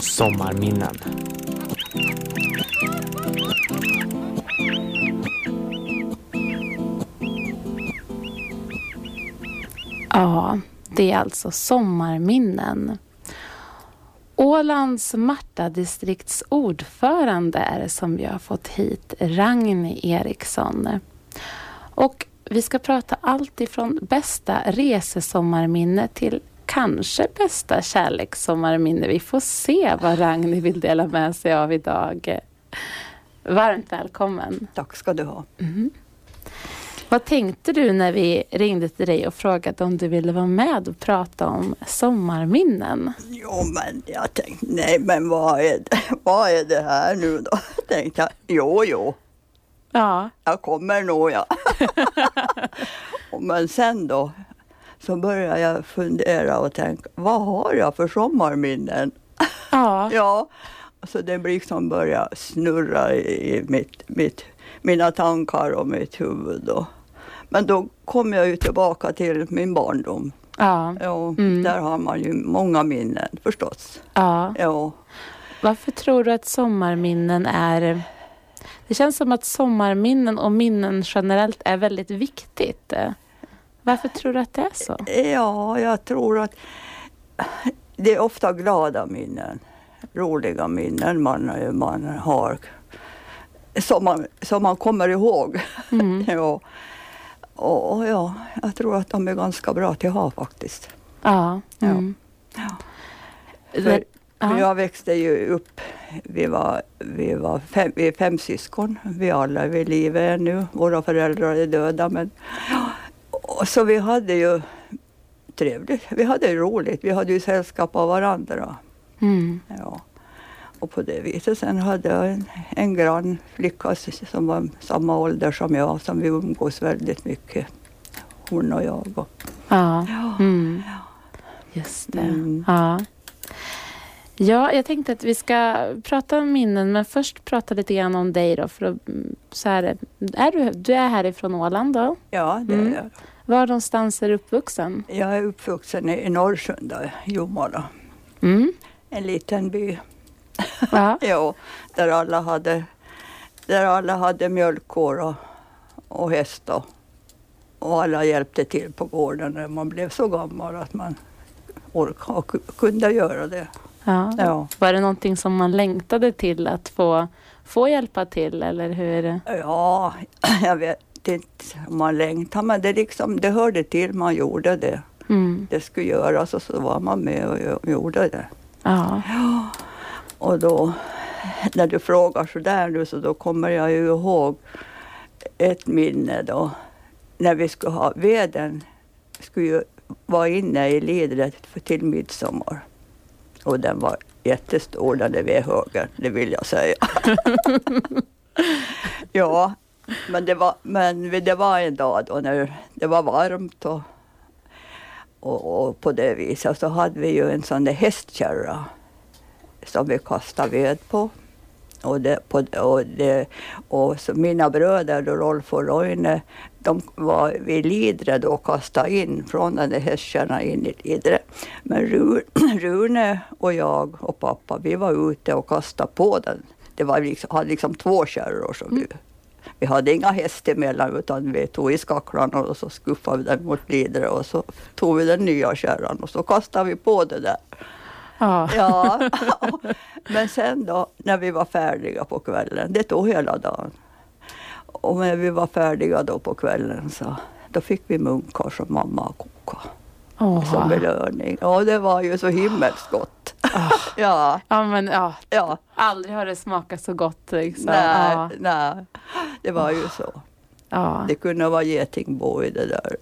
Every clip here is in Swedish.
Sommarminnen. Ja, det är alltså sommarminnen. Ålands Martadistrikts ordförande är det som vi har fått hit, Ragni Eriksson. Och vi ska prata allt ifrån bästa resesommarminne till kanske bästa kärlekssommarminne. Vi får se vad Ragni vill dela med sig av idag. Varmt välkommen. Tack ska du ha. Vad tänkte du när vi ringde till dig och frågade om du ville vara med och prata om sommarminnen? Jo, men jag tänkte, nej men vad är det, vad är det här nu då? Tänkte jag, jo, jo, Ja, jag kommer nog ja. Och men sen då, så började jag fundera och tänka, vad har jag för sommarminnen? ja, Ja, så det liksom började snurra i mitt, mitt, mina tankar och mitt huvud. Då. Men då kom jag ju tillbaka till min barndom. ja, Ja, Mm. Där har man ju många minnen förstås. ja. Ja, Varför tror du att sommarminnen är... Det känns som att sommarminnen och minnen generellt är väldigt viktigt. Varför tror du att det är så? ja jag tror att det är ofta glada minnen, roliga minnen man, man har som man, som man kommer ihåg. Mm. Ja. Och, och ja, jag tror att de är ganska bra att ha faktiskt. Ja. Ja. Mm. För, Det- för ja. jag växte ju upp, vi var, vi var fem, vi är fem syskon, vi alla är vid liv ännu, våra föräldrar är döda. Men, och så vi hade ju trevligt, vi hade ju roligt, vi hade ju sällskap av varandra. Mm. Ja. Och på det viset, sen hade jag en, en grannflicka s- som var samma ålder som jag, som vi umgås väldigt mycket, hon och jag. Och, Ja. ja. Mm. Just det. Mm. Ja. ja, jag tänkte att vi ska prata om minnen, men först prata lite grann om dig då. För att, mm, så här, är du, du är härifrån Åland då? ja, det Mm. är jag. Var någonstans är du uppvuxen? Jag är uppvuxen i i Norrsunda, Jomala. Mm. en liten by. Ja. Jo, där alla hade, där alla hade mjölkkor och, och häst och, och alla hjälpte till på gården när man blev så gammal att man orkade och ku- kunde göra det. Ja. Ja, Var det någonting som man längtade till att få, få hjälpa till eller hur? ja jag vet inte om man längtade, men det, liksom, det hörde till, man gjorde det. Mm. Det skulle göras och så var man med och gö- gjorde det. Ja. Och då, när du frågar så där nu, så då kommer jag ju ihåg ett minne då, när vi skulle ha veden, skulle ju vara inne i lidret för- till midsommar. Och den var jättestor, den där vedhögen, det vill jag säga. ja, men det var, men det var en dag då när det var varmt och, och, och på det viset så hade vi ju en sån där hästkärra som vi kastade ved på. Och, det, på, och, det, och så mina bröder, då, Rolf och Roine, de var vid Lidre då och kastade in från den där hästkärran in i Lidre. Men Ru, Rune och jag och pappa, vi var ute och kastade på den. Det var liksom, hade liksom två kärror som vi... Vi hade inga häst emellan utan vi tog i skaklarna och så skuffade vi den mot Lidre och så tog vi den nya kärran och så kastade vi på det där. Ja. Ja, men sen då när vi var färdiga på kvällen, det tog hela dagen. Och när vi var färdiga då på kvällen så då fick vi munkar som mamma kokade som Åh. belöning. Ja, det var ju så himmelskt gott. Ah. Ja, Ja, men ja. ja, Aldrig har det smakat så gott liksom. nej, Ja. nej, det var ju så. Ja. Det kunde vara getingbo i det där,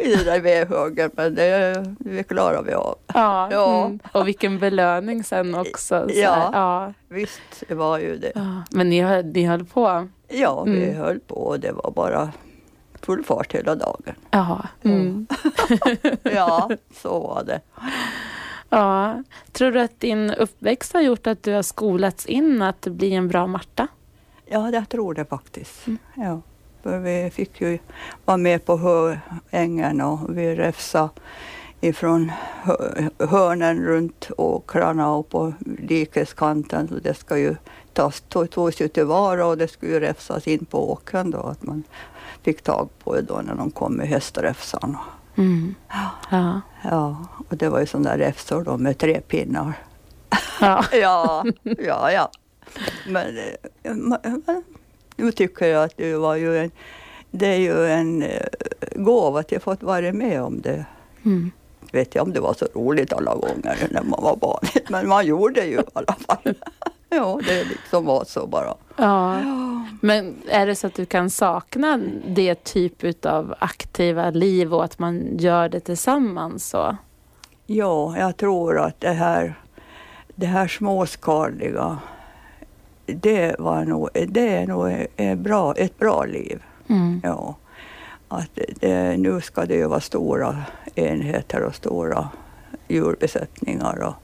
i det där vedhögen, men det, det klarade vi av. Ja, Ja. Mm. och vilken belöning sen också. Så Ja. här, ja. Visst, det var ju det. ja. Men ni höll, ni höll på? Ja, vi Mm. höll på och det var bara full fart hela dagen. Ja. Mm. Ja, så var det. ja. Tror du att din uppväxt har gjort att du har skolats in att bli en bra Marta? Ja, jag tror det faktiskt. Ja. För vi fick ju vara med på Höängen och vi refsade ifrån hö- hörnen runt åkrarna och på dikeskanten. Så det ska ju tas, to- togs ju tillvara och det skulle ju räfsas in på åkern då. Att man fick tag på det då när de kom med hästräfsan. Mm. Ja. Ja, och det var ju sådana där räfsor då med tre pinnar. Ja. Ja, ja, ja. Men eh, ma- ma- nu tycker jag att det var ju en, det är ju en eh, gåva att jag fått vara med om det. Mm. Vet jag om det var så roligt alla gånger när man var barn, men man gjorde det ju i alla fall. Ja, det liksom var så bara. ja. Men är det så att du kan sakna det typ av aktiva liv och att man gör det tillsammans? Så? Ja, jag tror att det här, det här småskaliga, det, var nog, det är nog ett bra, ett bra liv. Mm. Ja, att det, nu ska det ju vara stora enheter och stora djurbesättningar. Och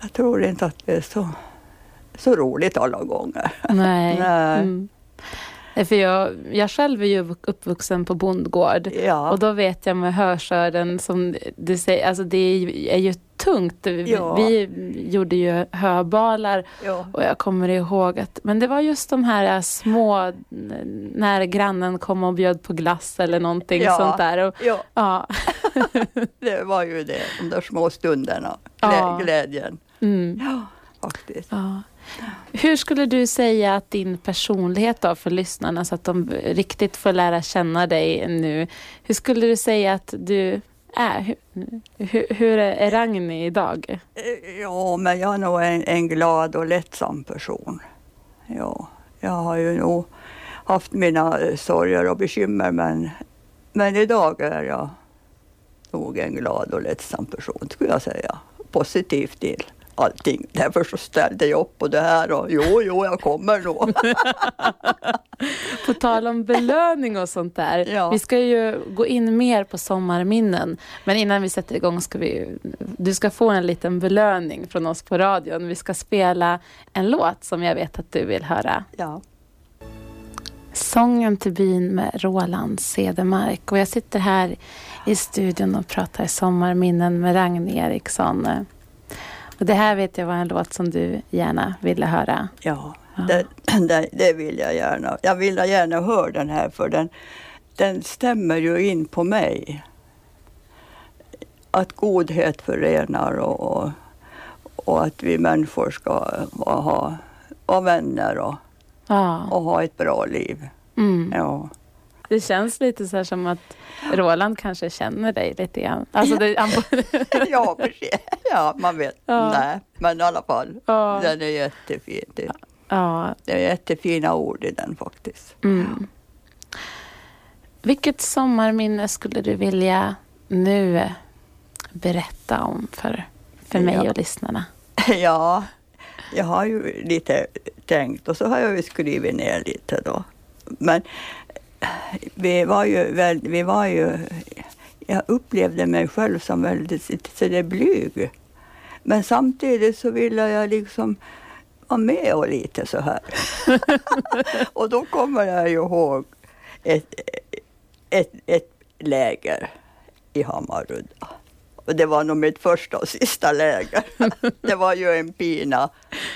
jag tror inte att det är så, så roligt alla gånger. Nej. Nej. Mm. Nej, För jag, jag själv är ju uppvuxen på bondgård. Ja, Och då vet jag med hörsörden som du säger, alltså det är ju, är ju tungt. Vi, Ja. vi gjorde ju höbalar ja, och jag kommer ihåg att, men det var just de här små, n- när grannen kom och bjöd på glass eller någonting Ja. sånt där. Och, ja, ja, det var ju det, de där små stunderna, Ja. glä, glädjen. mm, Ja, faktiskt. ja. Hur skulle du säga att din personlighet då för lyssnarna så att de riktigt får lära känna dig nu. Hur skulle du säga att du är? Hur, hur, hur är Ragni idag? Eh, Ja, men jag är nog en, en glad och lättsam person. Ja, jag har ju nog haft mina eh, sorger och bekymmer, men, men idag är jag nog en glad och lättsam person, skulle jag säga. Positiv till allting. Därför så ställde jag upp på det här och jo, jo, jag kommer nog. På tal om belöning och sånt där. Ja. Vi ska ju gå in mer på sommarminnen. Men innan vi sätter igång ska vi... Du ska få en liten belöning från oss på radion. Vi ska spela en låt som jag vet att du vill höra. Ja, Sången till byn med Roland Cedermark. Och jag sitter här i studion och pratar sommarminnen med Ragni Eriksson. Och det här vet jag var en låt som du gärna ville höra. ja. Ja. Det, det, det vill jag gärna. Jag vill gärna höra den här för den, den stämmer ju in på mig. Att godhet förenar och, och, och att vi människor ska vara- ha, ha vänner och, Ja. och ha ett bra liv. Mm. Ja. Det känns lite så här som att Roland kanske känner dig lite grann. Alltså det, han, ja, precis. Ja, man vet. Ja. Nej, men i alla fall. ja, Den är jättefin. Det, ja, det är jättefina ord i den faktiskt. mm. Vilket sommarminne skulle du vilja nu berätta om för, för mig Ja. och lyssnarna? Ja, jag har ju lite tänkt och så har jag ju skrivit ner lite då. Men eh, vi var ju, väl, vi var ju jag upplevde mig själv som väldigt lite så där blyg. Men samtidigt så ville jag liksom vara med och lite så här. och då kommer jag ju ihåg ett, ett, ett läger i Hammarudda. Och det var nog mitt första och sista läger. det var ju en pina.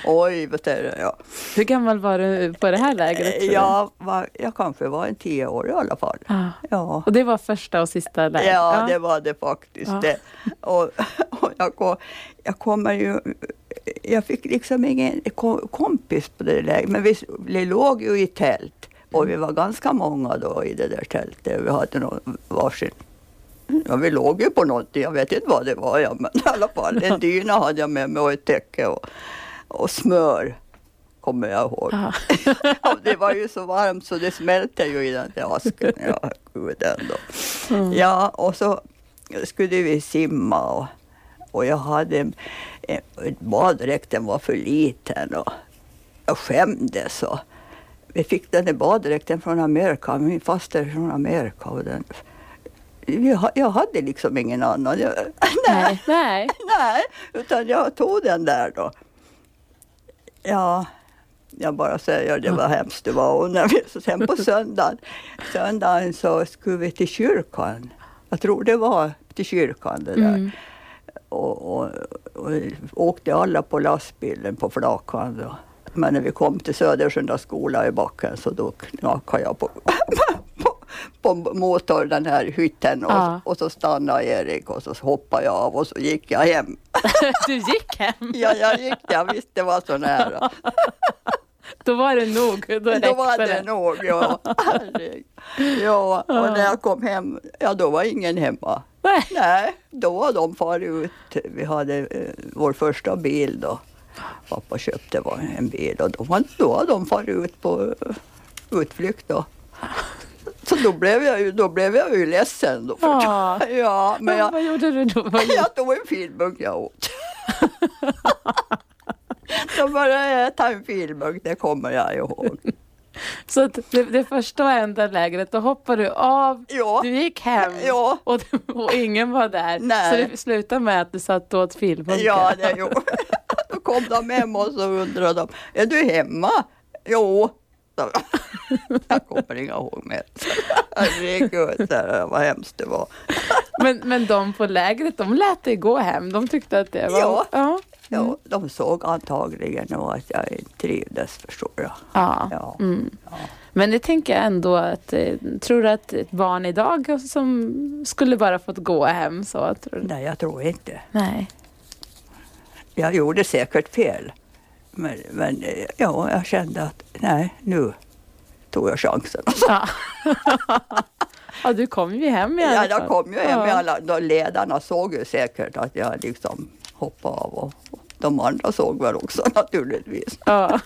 Oj, vad säger jag? Hur gammal var du på det här lägret? tror du? Jag, var, jag kanske var en tio år i alla fall. Ja. Ja. Och det var första och sista lägret? Ja, det var det faktiskt. Ja. Det. Och, och jag, kom, jag kommer ju... Jag fick liksom ingen ko- kompis på det läget, men vi, s- vi låg ju i tält. Mm. Och vi var ganska många då i det där tältet. Vi hade nog varsin... Ja, vi låg ju på någonting, jag vet inte vad det var, ja, men i alla fall. En dyna hade jag med mig och ett täcke och, och smör, kommer jag ihåg. Ja. Ja, det var ju så varmt så det smälte ju i den där asken. Ja, gud ändå. Mm. Ja, och så skulle vi simma och, och jag hade en, en, baddräkten var för liten och jag skämdes. Och vi fick den där baddräkten från Amerika, min faster är från Amerika. Och den, jag, ha- jag hade liksom ingen annan. Jag, Nej. Nej. Nej, utan jag tog den där då. Ja, jag bara säger det Mm. var hemskt det var. Och när vi, så sen på söndagen, söndagen så skulle vi till kyrkan. Jag tror det var till kyrkan det där. Mm. Och, och, och åkte alla på lastbilen på flakan. Då. Men när vi kom till Södersunda skola i backen så då knackade jag på, på, på motorn, den här hytten och, Ja. och så stannade Erik och så hoppade jag av och så gick jag hem. Du gick hem. Ja, jag gick, jag visste det var så nära. Då var det nog. Då, Då räckte var det nog, ja. Herregud. ja. Och när jag kom hem, ja då var ingen hemma. Nej. Nej, då var de farit ut. Vi hade eh, vår första bil då. Pappa köpte var en bil och då, var, då hade de farit ut på eh, utflykt då. Så då blev jag ju, då blev jag ju ledsen. Då. Ja. ja, men jag, Vad gjorde du då? Vad gjorde- jag tog en filmburk jag åt. Då började jag ta en filmburk, det kommer jag ihåg. Så att det, det första och enda lägret, då hoppade du av, Ja. du gick hem Ja. och, och ingen var där. Nej. Så det slutade med att du satt och åt filmbunken. Ja, det gjorde Då kom de hem och så undrade de, är du hemma? Jo. sa de. Jag kommer inte ihåg mer. Herregud, så här, vad hemskt det var. men, men de på lägret, de lät dig gå hem. De tyckte att det var... Ja. Ja. Mm. Ja, de såg antagligen nog att jag inte trivdes, förstår jag. ja. Ja. Mm. Ja. Men det tänker jag ändå att, eh, tror du att ett barn idag som skulle bara fått gå hem så? Tror du? Nej, jag tror inte. Nej. Jag gjorde säkert fel. Men, men eh, ja, jag kände att nej, nu tog jag chansen. Ja. ja, du kom ju hem i alla Ja, fall. jag kom ju hem med Ja. alla, de ledarna såg ju säkert att jag liksom hoppade av och de andra såg väl också naturligtvis. Ja.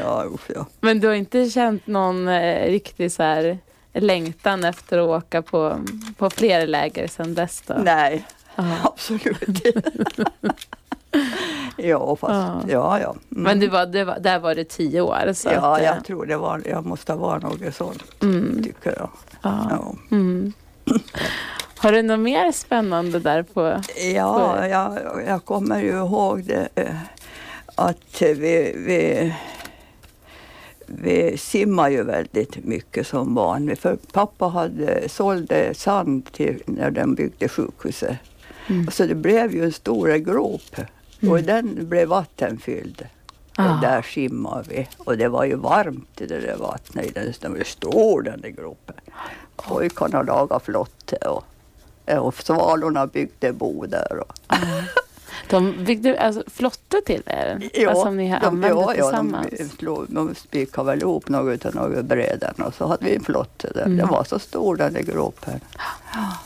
Ja, usch, ja. Men du har inte känt någon eh, riktig så här längtan efter att åka på, på fler läger sedan dess då? Nej, Ja. absolut inte. ja, fast ja, ja. Mm. Men du var, du var, där var du tio år? Så Ja, att, eh, jag tror det var, jag måste vara något sånt, tycker jag. ja. Ja, Mm. Har du något mer spännande där på? ja jag, jag kommer ju ihåg det, eh, att vi, vi, vi simmade ju väldigt mycket som barn. För pappa hade sålde sand till, när de byggde sjukhuset. Mm. Så det blev ju en stor grop och i den blev vattenfylld. Ah. Och där simmade vi och det var ju varmt i det där vattnet. i Den den var ju stor den där gropen. Pojkarna lagade flotte och, och svalorna byggde bo där. Och, eh, De byggde alltså, flotte till er? alltså, som ni har använde ja, ja, tillsammans? de, slog- de spikade väl ihop något av några bräden och så hade vi en flotte där. Mm. Den var så stor den där gropen.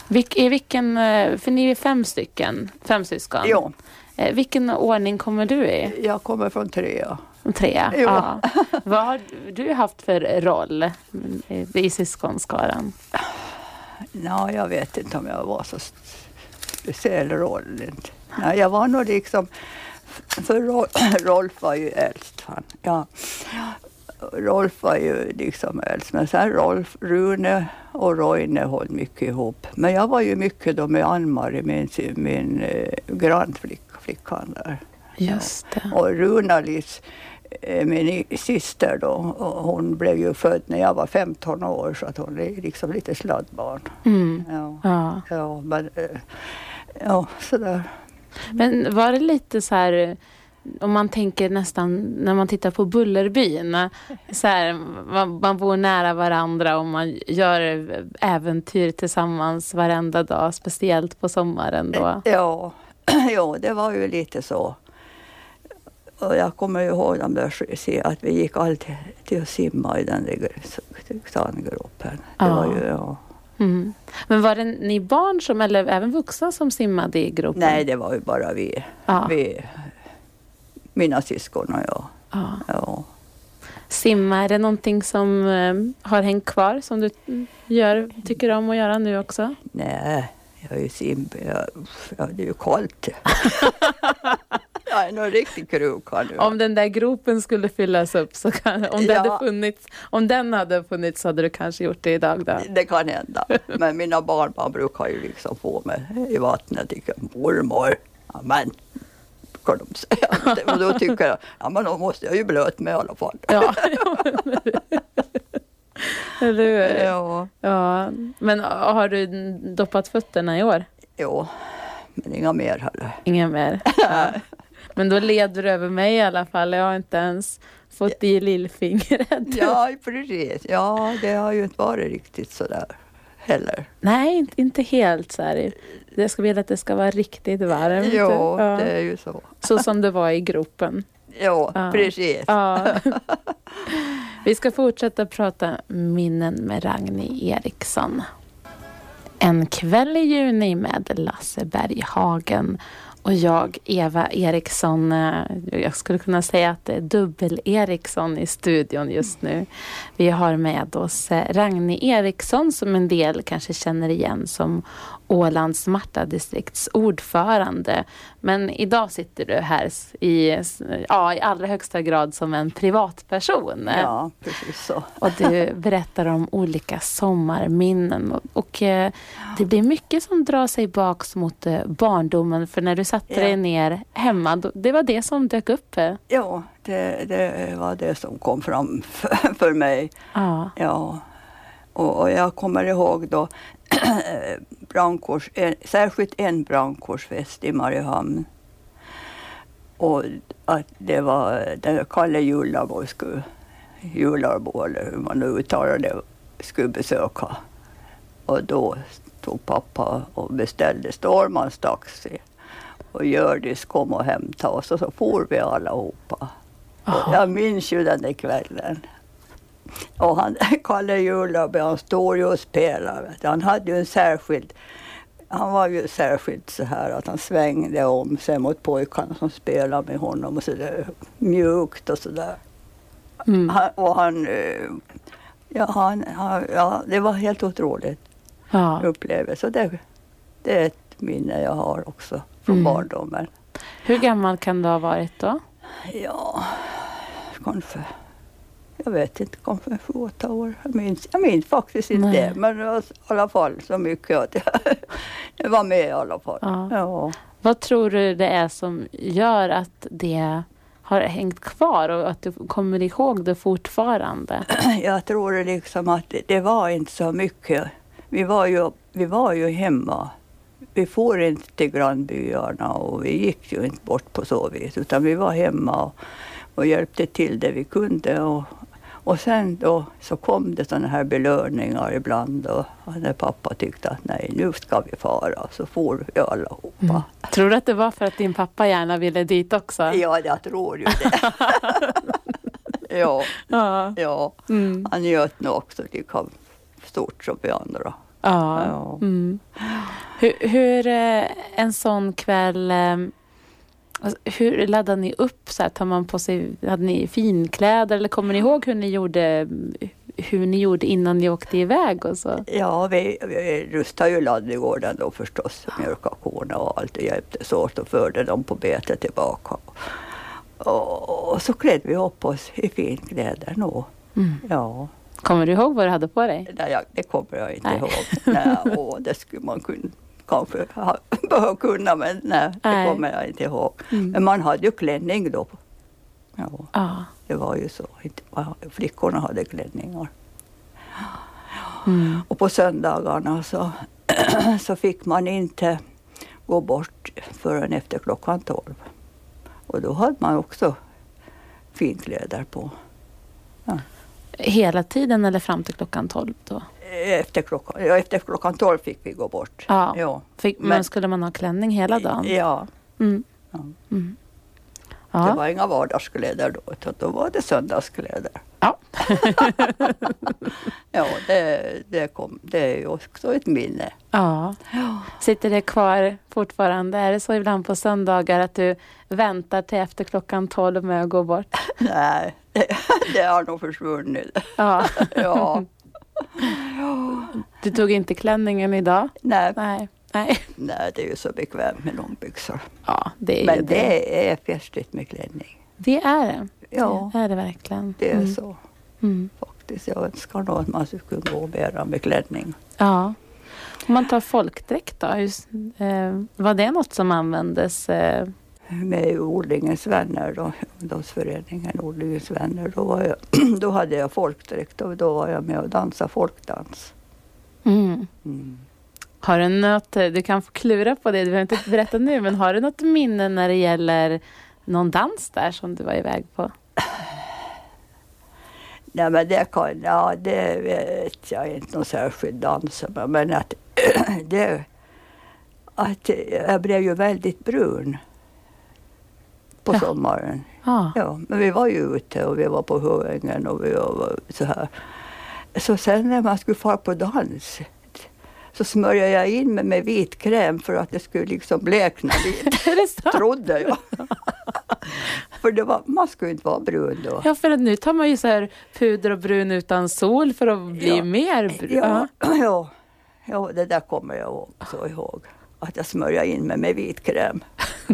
Vilk, I vilken, eh, för ni är fem stycken, fem syskon. Ja, Eh, Vilken ordning kommer du i? jag kommer från Trea. Tre? Jo. Ja. Vad har du haft för roll i syskonskaran? Nej, jag vet inte om jag var så s- speciell roll. Inte. Nej, jag var nog liksom... För Ro- Rolf var ju äldst. Han. Ja. Rolf var ju liksom äldst, men sen Rolf, Rune och Roine höll mycket ihop. Men jag var ju mycket då med Ann-Marie, min, sy- min eh, grannflickan flickan där. Just det. Och Runalis, eh, min i- syster då, och hon blev ju född när jag var 15 år så att hon är liksom lite sladdbarn. Mm. Ja. Ja. Ja, men eh, ja, sådär. Men var det lite så här, om man tänker nästan när man tittar på Bullerbyn, så här, man, man bor nära varandra och man gör äventyr tillsammans varenda dag, speciellt på sommaren då. Ja, ja, det var ju lite så. Och jag kommer ju ihåg de där, sk- se att vi gick alltid till att simma i den där gr- sandgropen. Det Ja. var ju, ja. Mm. Men var det ni barn som, eller även vuxna som simmade i gropen? Nej, det var ju bara vi, Ja. vi mina syskon och jag. Ja. Ja. Simma, är det någonting som eh, har hängt kvar som du mm, gör, tycker om att göra nu också? Nej, jag är ju sim... Jag, uff, ja, det är ju kallt. jag är nog riktig kruka nu. Om den där gropen skulle fyllas upp, så kan, om, det Ja. hade funnits, om den hade funnits så hade du kanske gjort det idag då? Det kan hända. Men mina barnbarn brukar ju liksom få mig i vattnet. Tycker, mormor, amen, brukar de säga. Och då tycker jag, ja men då måste jag ju blöt med i alla fall. Ja. Eller hur? Ja. Ja. Men har du doppat fötterna i år? Jo, men inga mer heller. Inga mer? Ja. Men då leder du över mig i alla fall. Jag har inte ens fått i lillfingret. Ja, precis. Ja, det har ju inte varit riktigt sådär heller. Nej, inte- inte helt så här. Jag ska vilja att det ska vara riktigt varmt. Jo, ja. det är ju så. Så som det var i gropen. Jo, Ja. precis. Ja. Vi ska fortsätta prata minnen med Ragni Eriksson. En kväll i juni med Lasse Berghagen och jag, Eva Eriksson. eh, Jag skulle kunna säga att det är dubbel-Eriksson i studion just nu. Vi har med oss eh, Ragni Eriksson som en del kanske känner igen som Ålands Marta distrikts ordförande. Men idag sitter du här s- i, s- ja, i allra högsta grad som en privatperson. Ja, precis så. Och du berättar om olika sommarminnen. Och, och eh, det blir mycket som drar sig bak mot eh, barndomen. För när du satte Ja. dig ner hemma, då, det var det som dök upp. eh. Ja, det, det var det som kom fram för, för mig. Ja. Ja. Och, och jag kommer ihåg då brandkårs, en, särskilt en brandkårsfest i Mariehamn. Och att det var det Kalle Jullabo skulle, Jullabo eller hur man nu uttalar det, skulle besöka. Och då tog pappa och beställde Stormans taxi. Och Hjördis kom och hämtade oss och så for vi allihopa. Jaha. Och jag minns ju den där kvällen. Och han, Kalle Jullaby, han står ju och spelar. Vet du. Han hade ju en särskild... Han var ju särskilt så här att han svängde om sig mot pojkarna som spelade med honom och så där mjukt och så där. Mm. Han, och han... eh, Ja, han, han, ja, det var helt otroligt Ja. upplevelse. Och Det, det är ett minne jag har också från Mm. barndomen. Hur gammal kan du ha varit då? Ja, kanske. Jag vet inte, kanske sju, åtta år. Jag minns, jag minns faktiskt inte Nej. det, men det var i alla fall så mycket att jag, jag var med i alla fall. Ja. Ja. Vad tror du det är som gör att det har hängt kvar och att du kommer ihåg det fortfarande? Jag tror det liksom att det, det var inte så mycket. Vi var, ju, vi var ju hemma. Vi for inte till grannbyarna och vi gick ju inte bort på så vis, utan vi var hemma och, och hjälpte till det vi kunde. Och, och sen då så kom det sådana här belöningar ibland och och när pappa tyckte att nej, nu ska vi fara, så for vi Mm. allihopa. Tror du att det var för att din pappa gärna ville dit också? Ja, jag tror ju det. ja, Ja. ja. Mm. Han njöt nog också lika stort som vi andra. ja. Ja. Mm. Hur, hur eh, en sån kväll, eh, alltså, hur laddar ni upp? Så här, tar man på sig, hade ni finkläder eller kommer ni ihåg hur ni gjorde, hur ni gjorde innan ni åkte iväg och så? Ja, vi, vi rustade ju ladugården då förstås, mjölkade korna och allt och hjälptes åt och förde dem på bete tillbaka. Och, och så klädde vi upp oss i finkläder nog. Mm. Ja, Kommer du ihåg vad du hade på dig? nej, jag, det kommer jag inte Nej. ihåg. Nej, åh, det skulle man kun, kanske ha, behöva kunna, men nej, Nej. det kommer jag inte ihåg. Mm. Men man hade ju klänning då. Ja. Ja. Det var ju så. Inte bara Flickorna hade klänningar. Mm. Och på söndagarna så, så fick man inte gå bort förrän efter klockan tolv. Och då hade man också finkläder på. Hela tiden eller fram till klockan 12 då? Efter klockan, ja, efter klockan tolv fick vi gå bort. Ja. Ja. Fick, men, Men- skulle man ha klänning hela dagen? Ja. Mm. Ja. Mm. Det Ja. var inga vardagskläder då, utan då var det söndagskläder. Ja. Ja, det, det, kom, det är ju också ett minne. ja. Sitter det kvar fortfarande? Är det så ibland på söndagar att du väntar till efter klockan 12 med att gå bort? Nej, det, det har nog försvunnit. Ja. Ja, Du tog inte klänningen idag? nej, Nej. Nej. nej, det är ju så bekvämt med långbyxor. Ja, det är ju Men det. det är festligt med klänning. Det är det. Ja, Det är det verkligen. det är Mm. så Mm. faktiskt. Jag önskar nog att man skulle gå mera med klänning. Ja. Om man tar folkdräkt då, hur s- eh, var det något som användes eh, med i Odlingens vänner, då, ungdomsföreningen Odlingens vänner. Då, var jag, då hade jag folkdräkt och då var jag med och dansade folkdans. Mm. Mm. Har du något, eh, du kan få klura på det, du behöver inte berätta nu, men har du något minne när det gäller någon dans där som du var iväg på? Nej men det kan, ja det vet jag inte någon särskild dans om, men att det, att jag blev ju väldigt brun på Ja. sommaren. Ja. Ja, men vi var ju ute och vi var på Höängen och vi var så här. Så sen när man skulle fara på dans så smörjde jag in mig med vit kräm för att det skulle liksom blekna lite, Är det sant? trodde jag. för det var, man skulle inte vara brun då. Ja, för att nu tar man ju så här puder och brun utan sol för att bli Ja. mer brun. Ja, ja, ja, det där kommer jag ihåg- så ihåg. Att jag smörjade in mig med vit kräm.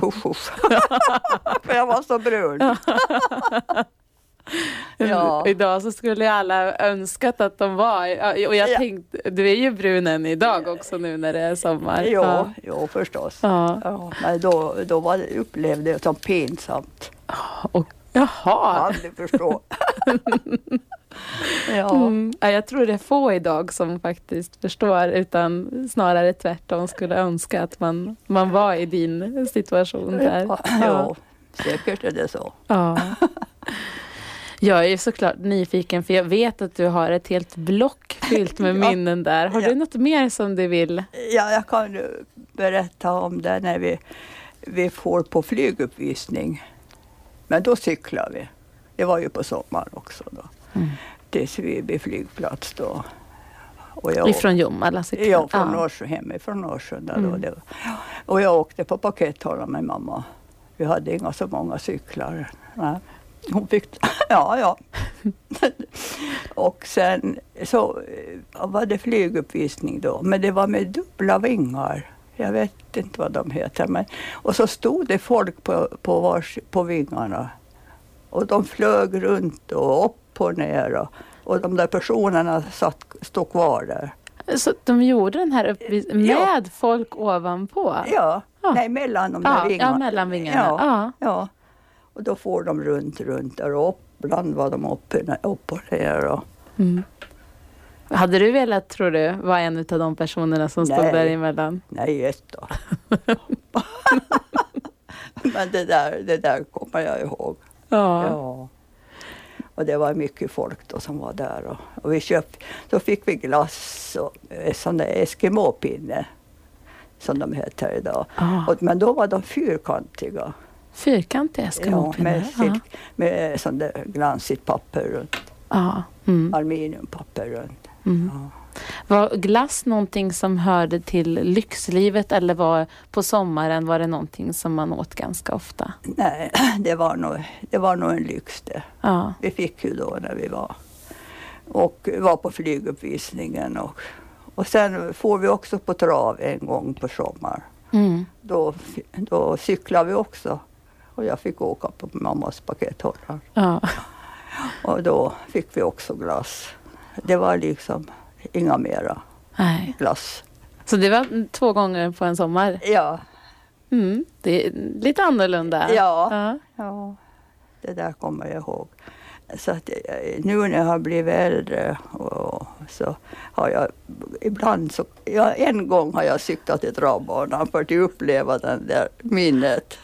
Usch, usch. För jag var så brun. Ja. Mm, Idag så skulle ju alla önskat att de var, ja, och jag Ja. tänkte, du är ju brun än idag också nu när det är sommar. Jo, jo förstås. Ja. Ja, men då, då var det, upplevde jag det som pinsamt. Och, jaha. Aldrig förstå. ja. Mm. Ja, jag tror det är få idag som faktiskt förstår utan snarare tvärtom skulle önska att man, man var i din situation där. Ja, Ja. jo, säkert är det så. Ja. Jag är ju såklart nyfiken för jag vet att du har ett helt block fyllt med Ja. minnen där. Har du Ja. något mer som du vill? Ja, jag kan ju berätta om det när vi, vi får på flyguppvisning. Men då cyklar vi. Det var ju på sommaren också då. Till Sviby flygplats då. Och jag Ifrån Jomala såklart. Ja, från Norrsjö, hemifrån Norrsunda. Då, Mm. det var. Och jag åkte på pakethållare med mamma. Vi hade inga så många cyklar. Nej. Hon fick, ja, ja. och sen så eh, var det flyguppvisning då, men det var med dubbla vingar. Jag vet inte vad de heter. Men, och så stod det folk på, på, vars, på vingarna. Och de flög runt och upp och ner. Och, och de där personerna satt, stod kvar där. Så de gjorde den här uppvisningen Ja. med folk ovanpå? Ja, Ja. nej mellan de där ja, vingarna. ja mellan vingarna. Ja. Ja. Ja. Och då får de runt, runt där och upp. Ibland var de uppe, upp och ner. Och, Mm. Hade du velat, tror du, vara en av de personerna som stod Nej. däremellan? nej, ett då. Men det där, det där kommer jag ihåg. Ja. Ja. Och det var mycket folk då som var där. Och, och vi köpt, då fick vi glass och eh, sån där Eskimo-pinne, som de heter idag. Ah. Och, men då var de fyrkantiga. Fyrkantiga Ja, skrapinnar. med, Ja. silk, med sån där glansigt papper runt, Ja. Mm. aluminiumpapper runt. Mm. Ja. Var glass någonting som hörde till lyxlivet eller var på sommaren var det någonting som man åt ganska ofta? Nej, det var, nog, det var nog en lyx det. Ja. Vi fick ju då när vi var och var på flyguppvisningen. Och, och sen får vi också på trav en gång på sommar. Mm. Då, fi- då cyklar vi också. Och jag fick åka på mammas pakethållare. ja. Och då fick vi också glass. Det var liksom inga mera Nej. glass. Så det var två gånger på en sommar. Ja, Mm. Det är lite annorlunda. ja. Ja. Ja, det där kommer jag ihåg. Så att eh, nu när jag har blivit äldre och så har jag ibland så, ja, en gång har jag cyklat i travbanan för att uppleva den där minnet.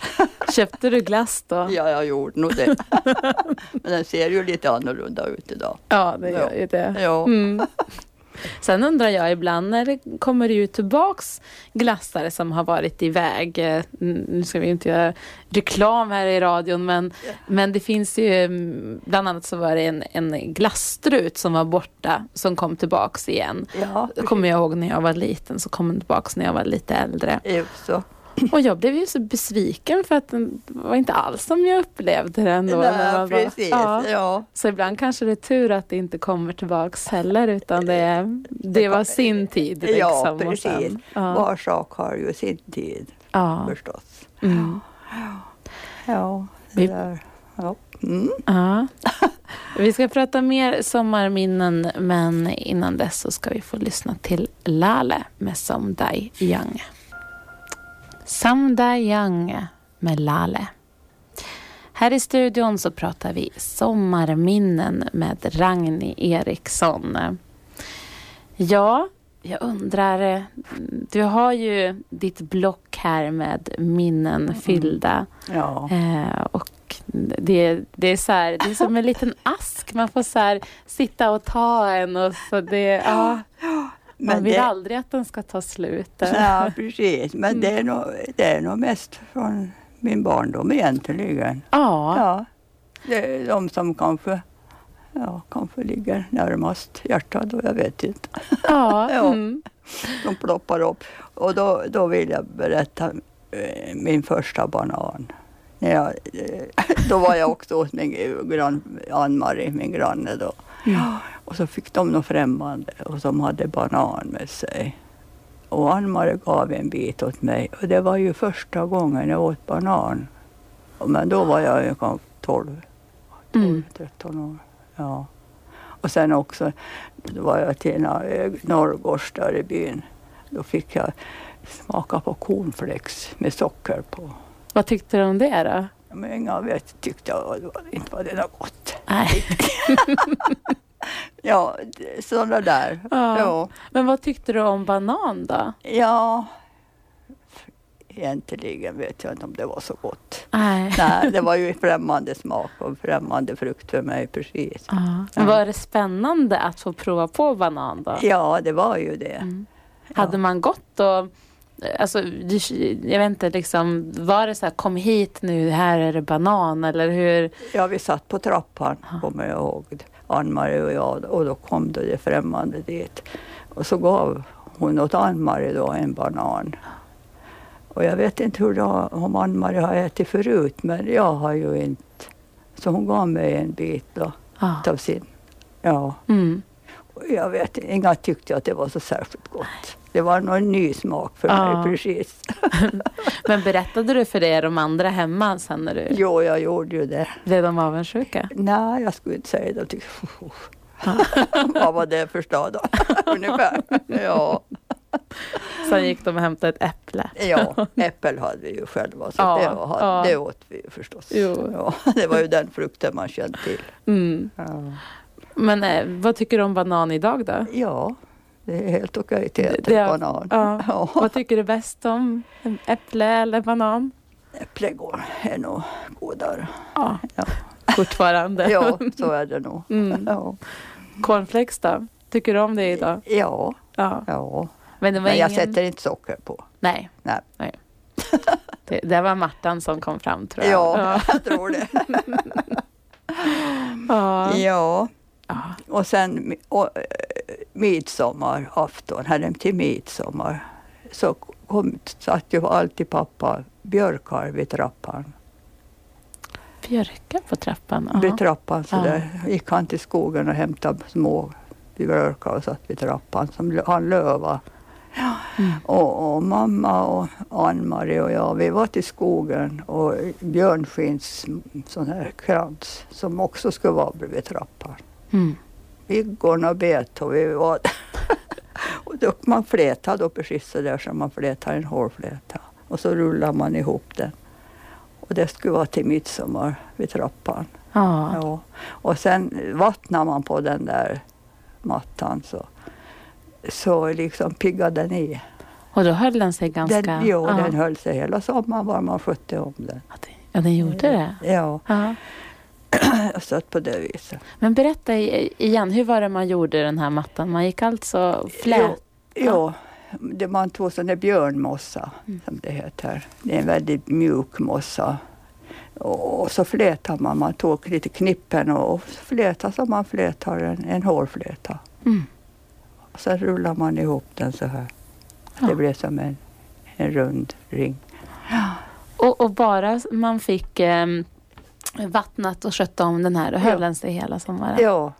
Köpte du glass då? Ja, jag gjorde nog det. Men den ser ju lite annorlunda ut idag. Ja, det gör ju det. Ja. Mm. Sen undrar jag ibland när det kommer det ju tillbaks glassare som har varit iväg. Eh, n- Nu ska vi inte göra reklam här i radion men, men det finns ju mm, bland annat så var det en, en glasstrut som var borta som kom tillbaks igen. Ja, Det kommer jag ihåg när jag var liten så kom den tillbaks när jag var lite äldre. eh, så. Och jag blev ju så besviken för att den var inte alls som jag upplevde den då. när man Nej, var- precis. Ja. Ja. Så ibland kanske det är tur att det inte kommer tillbaks heller utan det, är, det var sin tid. Liksom, ja, och precis. sen- Ja, Var sak har ju sin tid ja, förstås. mm, Ja, Vi- det där. Ja. Mm. ja. Vi ska prata mer sommarminnen men innan dess så ska vi få lyssna till Lale med Samdai Young. Samdai Young med Lale. Här i studion så pratar vi sommarminnen med Ragni Eriksson. Ja, jag undrar, du har ju ditt block här med minnen fyllda. Ja. Eh, och det, det, är så här, det är som en liten ask, man får så här, sitta och ta en och så det, ja, man Men vill det- aldrig att den ska ta slut. Ja, precis. Men det, är nog, det är nog mest från min barndom egentligen. Ja, Ja. Det är de som kanske, ja, kanske ligger närmast hjärtat och jag vet inte. ja. Ja. Mm. De ploppar upp. Och då, då vill jag berätta eh, min första banan. När jag, eh, då var jag också hos min grann, Ann-Marie, min granne då. Och så fick de någon främmande och som hade banan med sig. Och Ann-Marie gav en bit åt mig och det var ju första gången jag åt banan. Och Men då var jag ju kanske 12, 12 Mm. 13 år. Ja. Och sen också, då var jag till Nor- Norrgårds där i byn. Då fick jag smaka på cornflakes med socker på. Vad tyckte du om det då? Men inga vet, tyckte jag det var- inte var det något gott. Nej. Ja, det- sådana där. Ja. Ja. Men vad tyckte du om banan då? Ja, egentligen vet jag inte om det var så gott. Nej. Nej, det var ju främmande smak och främmande frukt för mig precis. Ja. Men Var det spännande att få prova på banan då? Ja, det var ju det. Mm. Hade man gått och Alltså, du- jag vet inte, liksom, var det så här kom hit nu, här är det banan eller hur? Ja, vi satt på trappan, kommer jag ihåg, Ann-Marie och jag, och då kom då det främmande dit. Och så gav hon åt Ann-Marie då en banan. Och jag vet inte hur det har, om Ann-Marie har ätit förut, men jag har ju inte. Så hon gav mig en bit då, Ja. av sin. Ja. Mm. Jag vet inga tyckte att det var så särskilt gott. Det var någon ny smak för Ja. mig precis. Men berättade du för det de andra hemma sen när du Jo, jag gjorde ju det. blev de avundsjuka? Nej, jag skulle inte säga det. Jag tyckte, Vad var det för stad då? Ungefär. Ja, Sen gick de och hämtade ett äpple. ja, äppel hade vi ju själva, så Ja, det, hade, ja. det åt vi ju förstås. Jo. Ja, det var ju den frukten man kände till. Mm. Ja, Men eh, vad tycker du om banan idag då? det är helt okej till Det- att det- äta banan. ja. Ja. Vad tycker du bäst om? Äpple eller banan? Äppelgård är nog godare. Ja, Ja. fortfarande. Ja, så är det nog. Mm. Ja. Cornflakes då? Tycker du om det idag? ja, Ja. ja. Men det var Men jag ingen... sätter inte socker på. Nej. Nej. Det, det var Martan som kom fram tror jag. Ja, jag tror det. Ja. Ja. Ja, Ja. och sen mi- och, eh, midsommarafton, här till midsommar, så kom, satt ju alltid pappa björkar vid trappan. Björka på trappan. Ja. Vid trappan så Ja. där gick han till skogen och hämtade små björkar och satt vid trappan som lö- han löva. Mm. Och, och mamma och Ann-Marie och jag, vi var till skogen och björnskins sån här krans som också skulle vara bredvid trappan. Mm. Viggon och bet och vi var och då Man flätade då precis så där som man flätar en hårfläta. Och så rullar man ihop den. Och det skulle vara till midsommar vid trappan. Ja. Ja. Och sen vattnar man på den där mattan så, så liksom piggar den i. Och då höll den sig ganska... Den, jo, ja. den höll sig hela sommaren bara man skötte om den. Ja, det- Ja, den gjorde det. Ja, Ja. så att på det viset. Men berätta i- igen, hur var det man gjorde den här mattan? Man gick alltså och flät? Ja, det man tog sån där björnmossa, Mm. som det heter. Det är en väldigt mjuk mossa. Och och så flätar man, man tog lite knippen och och flätar som man flätar en, en hårfläta. Mm. Och sen rullar man ihop den så här. Ja. Det blev som en, en rund ring. Och, och bara man fick ehm, vattnat och skött om den här, då höll Ja. den sig hela sommaren? Ja,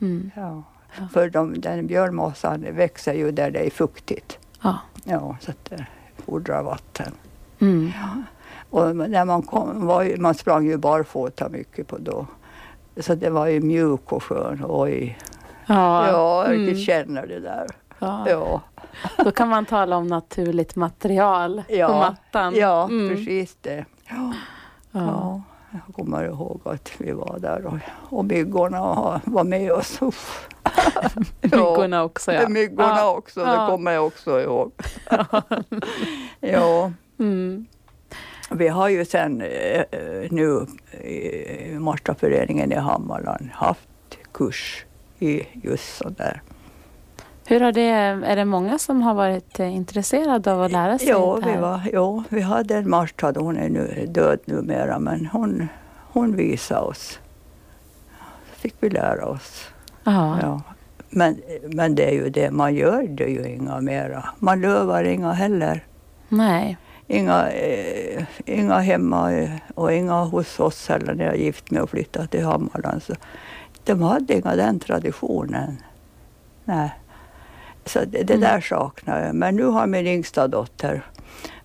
Mm. ja. Ja. för de, den björnmossan växer ju där det är fuktigt. ja. Ja, så att det fordrar vatten. Mm. Och när man kom, var ju, man sprang ju barfota mycket på då. Så det var ju mjuk och skön. Oj. Ja, Ja, jag Mm. riktigt känner det där. ja. Ja. Då kan man tala om naturligt material på mattan. Ja, Mm. precis det. Ja. Ja. Ja. Jag kommer ihåg att vi var där och, och myggorna ha- var med oss. Uff. Myggorna också ja. Myggorna Ja. också, Ja. det kommer jag också ihåg. ja. Mm. Vi har ju sen eh, eh, nu i Marstaföreningen i Hammarland haft kurs i just sådär. Hur har det, är det många som har varit eh, intresserade av att lära sig Ja, det vi, här? var, ja, vi hade en Marstad, hon är nu död numera, men hon, hon visade oss. Så fick vi lära oss. Ja. Ja. Men, men det är ju det, man gör det ju inga mera. Man lövar inga heller. Nej. Inga, eh, inga hemma eh, och inga hos oss heller när jag gift mig och flyttade till Hammarland. Så de hade inga den traditionen. Nej. Så det, det Mm. där saknar jag. Men nu har min yngsta dotter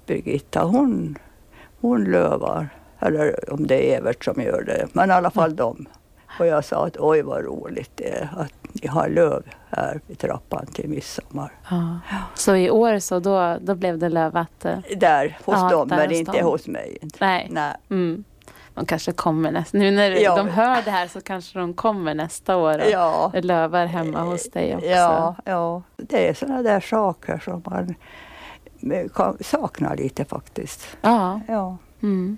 Birgitta, hon, hon lövar. Eller om det är Evert som gör det, men i alla Mm. fall de. Och jag sa att oj vad roligt det är att ni har löv här vid trappan till midsommar. Ja. Så i år så då, då blev det lövat? eh, Där hos Ja, dem, där men hos inte dem. hos mig. Nej. Nej. Mm. De kanske kommer nästa... Nu när Ja. de hör det här så kanske de kommer nästa år och Ja. lövar hemma hos dig också. Ja, ja, det är sådana där saker som man eh, kan- saknar lite faktiskt. ja. Ja, Mm.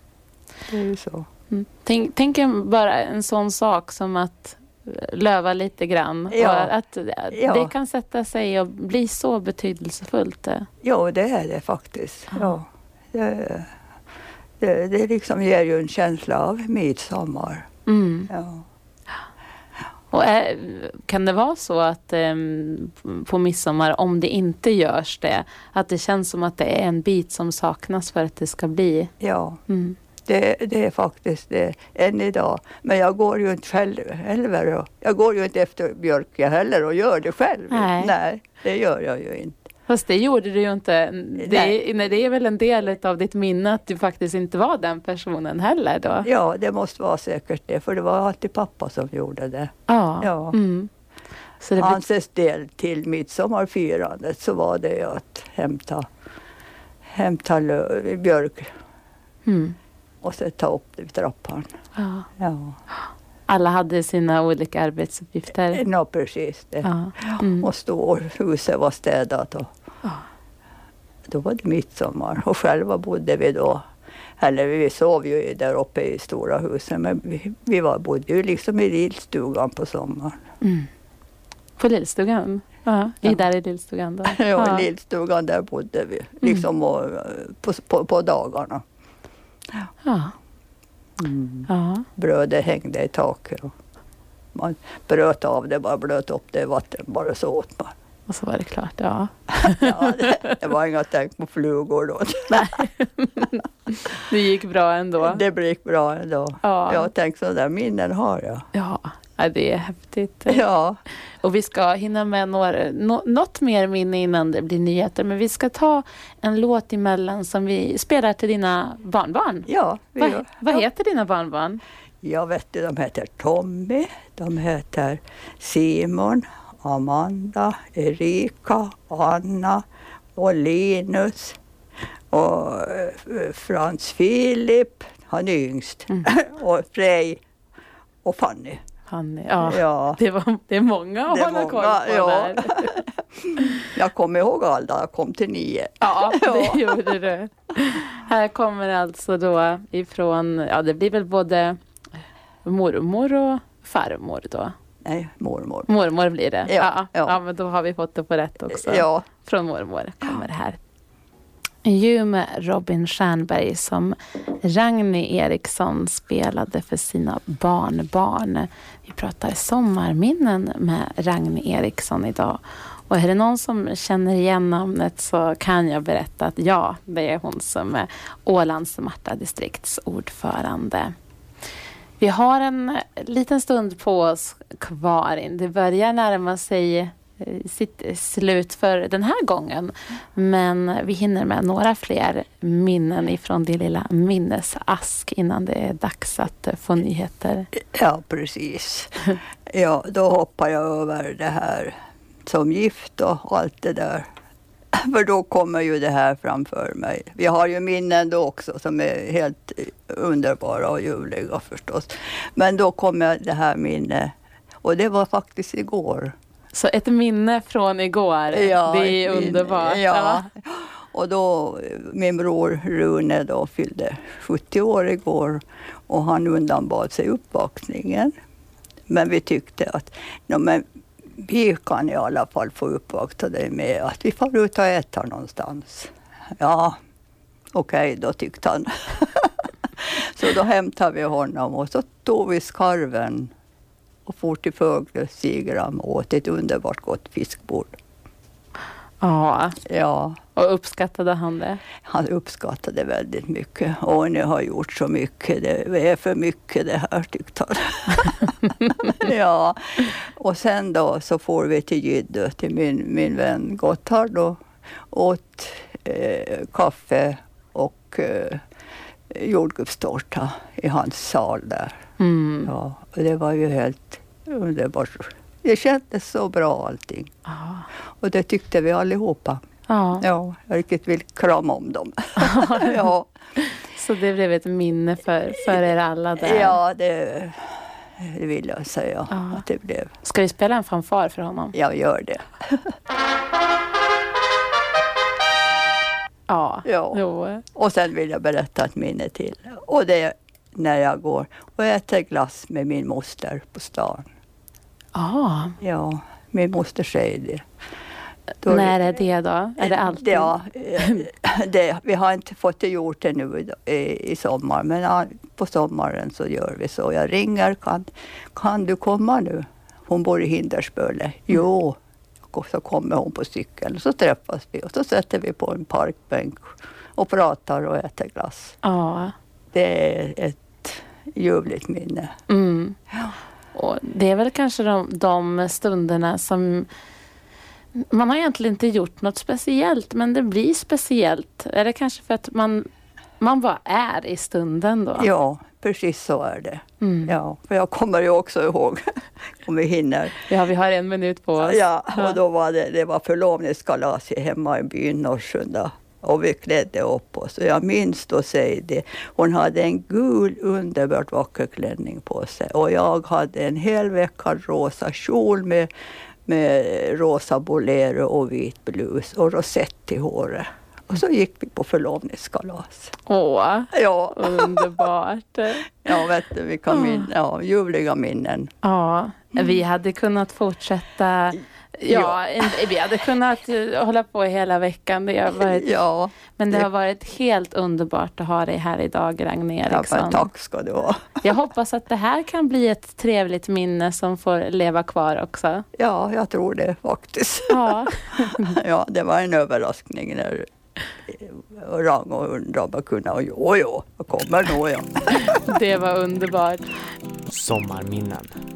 det är ju så. Mm. Tänk, tänk en- bara en sån sak som att löva lite grann. Ja. Och att Ja. Det kan sätta sig och bli så betydelsefullt. eh. Jo, det är det faktiskt. Ja. Det, det, det liksom ger ju en känsla av midsommar. Mm. Ja. Och är, kan det vara så att ehm, på midsommar, om det inte görs det, att det känns som att det är en bit som saknas för att det ska bli? ja. Mm. Det, det är faktiskt det, än idag. Men jag går ju inte själv heller. och- Jag går ju inte efter Björke heller och gör det själv. Nej. det gör jag ju inte. Fast det gjorde du ju inte. Det, Nej. nej, det är väl en del av ditt minne att du faktiskt inte var den personen heller då? Ja, det måste vara säkert det, för det var alltid pappa som gjorde det. Ja. Ja. Mm. Så det blir Hans del till midsommarfirandet så var det ju att hämta, hämta lö- björk Mm. och sen ta upp det vid trappan. Ja. Ja, Alla hade sina olika arbetsuppgifter. Nå, precis det. Ja. Mm. Eh, Och stå, huset var städat och Ja. då var det midsommar. Och själva bodde vi då, eller vi sov ju där uppe i stora huset, men vi, vi var, bodde ju liksom i lillstugan på sommaren. Mm. På Lillstugan? Ja. I Ja. där i Lillstugan då? Ja, i lillstugan där bodde vi, Mm. liksom och, eh, på, på, på dagarna. ja. ja. brödet hängde i taket. Och man bröt av det, bara blöt upp det i vatten, bara så åt man. Och så var det klart. Ja. Ja, det, det var inga tänk på flugor då. Det gick bra ändå. Det gick bra ändå. Ja. Jag tänkte sådana där minnen har jag. Ja. ja, det är häftigt. Ja, Och vi ska hinna med några, nå- något mer minne innan det blir nyheter. Men vi ska ta en låt emellan som vi spelar till dina barnbarn. ja. vi Vad, gör. vad heter dina barnbarn? Jag vet du, de heter Tommy, de heter Simon, Amanda, Erika, Anna och Linus och eh, Frans Filip, han är yngst, Mm. och Frej och Fanny. Fanny. Ja. Ja, Det, var, det är många att Det är hålla koll på. många, ja. där. jag kommer ihåg alla, jag kom till nio. Ja, det gjorde du. Här kommer alltså då ifrån, ja det blir väl både mormor och farmor då. Nej, mormor. Mormor blir det. Ja, ja. ja. men då har vi fått det på rätt också. Ja, Från mormor kommer det här. Ju med Robin Stjernberg som Ragni Eriksson spelade för sina barnbarn. Vi pratar sommarminnen med Ragni Eriksson idag. Och är det någon som känner igen namnet så kan jag berätta att ja, det är hon som är Ålands Marta distrikts ordförande. Vi har en liten stund på oss kvar. Det börjar närma sig eh, sitt slut för den här gången. Men vi hinner med några fler minnen ifrån din lilla minnesask innan det är dags att eh, få nyheter. ja precis. Ja, då hoppar jag över det här som gift och allt det där. För då kommer ju det här framför mig. Vi har ju minnen då också som är helt underbara och ljuvliga förstås. Men då kommer det här minne och det var faktiskt igår. Så ett minne från igår, Ja, det är min- underbart. Ja. Och då, min bror Rune då fyllde 70 år igår och han undanbad sig uppvakningen. Men vi tyckte att "Nå, men vi kan i alla fall få uppvakta dig med att vi får ut och äta någonstans. Ja, okej, då tyckte han. så då hämtade vi honom och så tog vi skarven och for till Föglö Sigram och åt ett underbart gott fiskbord. ja, Ja. och uppskattade han det? Han uppskattade väldigt mycket. Och ni har gjort så mycket, det är för mycket det här tyckte han. ja. Och sen då så får vi till Gidde, till min, min vän Gotthard och åt eh, kaffe och eh, jordgubbstårta i hans sal där. Mm. Ja, och det var ju helt underbart. Det kändes så bra allting. Ja. Och det tyckte vi allihopa. Ja. Ja, jag riktigt vill krama om dem. ja, Så det blev ett minne för, för er alla där. ja det, det vill jag säga Ja. att det blev. Ska vi spela en fanfar för honom? Jag gör det. Ja. Ja. Jo. Och sen vill jag berätta ett minne till. Och det är när jag går och äter glass med min moster på stan. Ja. Ja, min moster säger det. Då- När är det då? Är det alltid? Ja, eh, det, vi har inte fått det gjort det nu i- i, i sommar, men ja, på sommaren så gör vi så. Jag ringer, kan, kan du komma nu? Hon bor i Mm. Hindersböle. Jo, och så kommer hon på cykeln. Så träffas vi och så sätter vi på en parkbänk och pratar och äter glass. Ja. Det är ett ljuvligt minne. Mm. Ja. Och det är väl kanske de, de stunderna som man har egentligen inte gjort något speciellt, men det blir speciellt. Är det kanske för att man, man bara är i stunden då? Ja, precis så är det. Mm. Ja, för jag kommer ju också ihåg, om vi hinner, Ja, vi har en minut på oss. Ja, Ja. och då var det, det var förlovningskalas hemma i byn Norrsunda och vi klädde upp oss. Och jag minns då säger det, hon hade en gul underbart vacker klänning på sig och jag hade en helveckad rosa kjol med, med rosa bolero och vit blus och rosett i håret. Och så gick vi på förlovningskalas. Åh, Ja, underbart. ja vet du, vilka Ah. min, ja, ljuvliga minnen. Ja, vi hade kunnat fortsätta. Ja, Ja. en- vi hade kunnat eh, hålla på hela veckan. Det har varit, Ja, men det det- har varit helt underbart att ha dig här idag, Ragne ja Eriksson. men tack ska du ha. Jag hoppas att det här kan bli ett trevligt minne som får leva kvar också. Ja, jag tror det faktiskt. Ja, Ja, det var en överraskning när Rango undrade om jag kunde. Och Jo, jo, jag kommer nog. Ja. det var underbart. Sommarminnen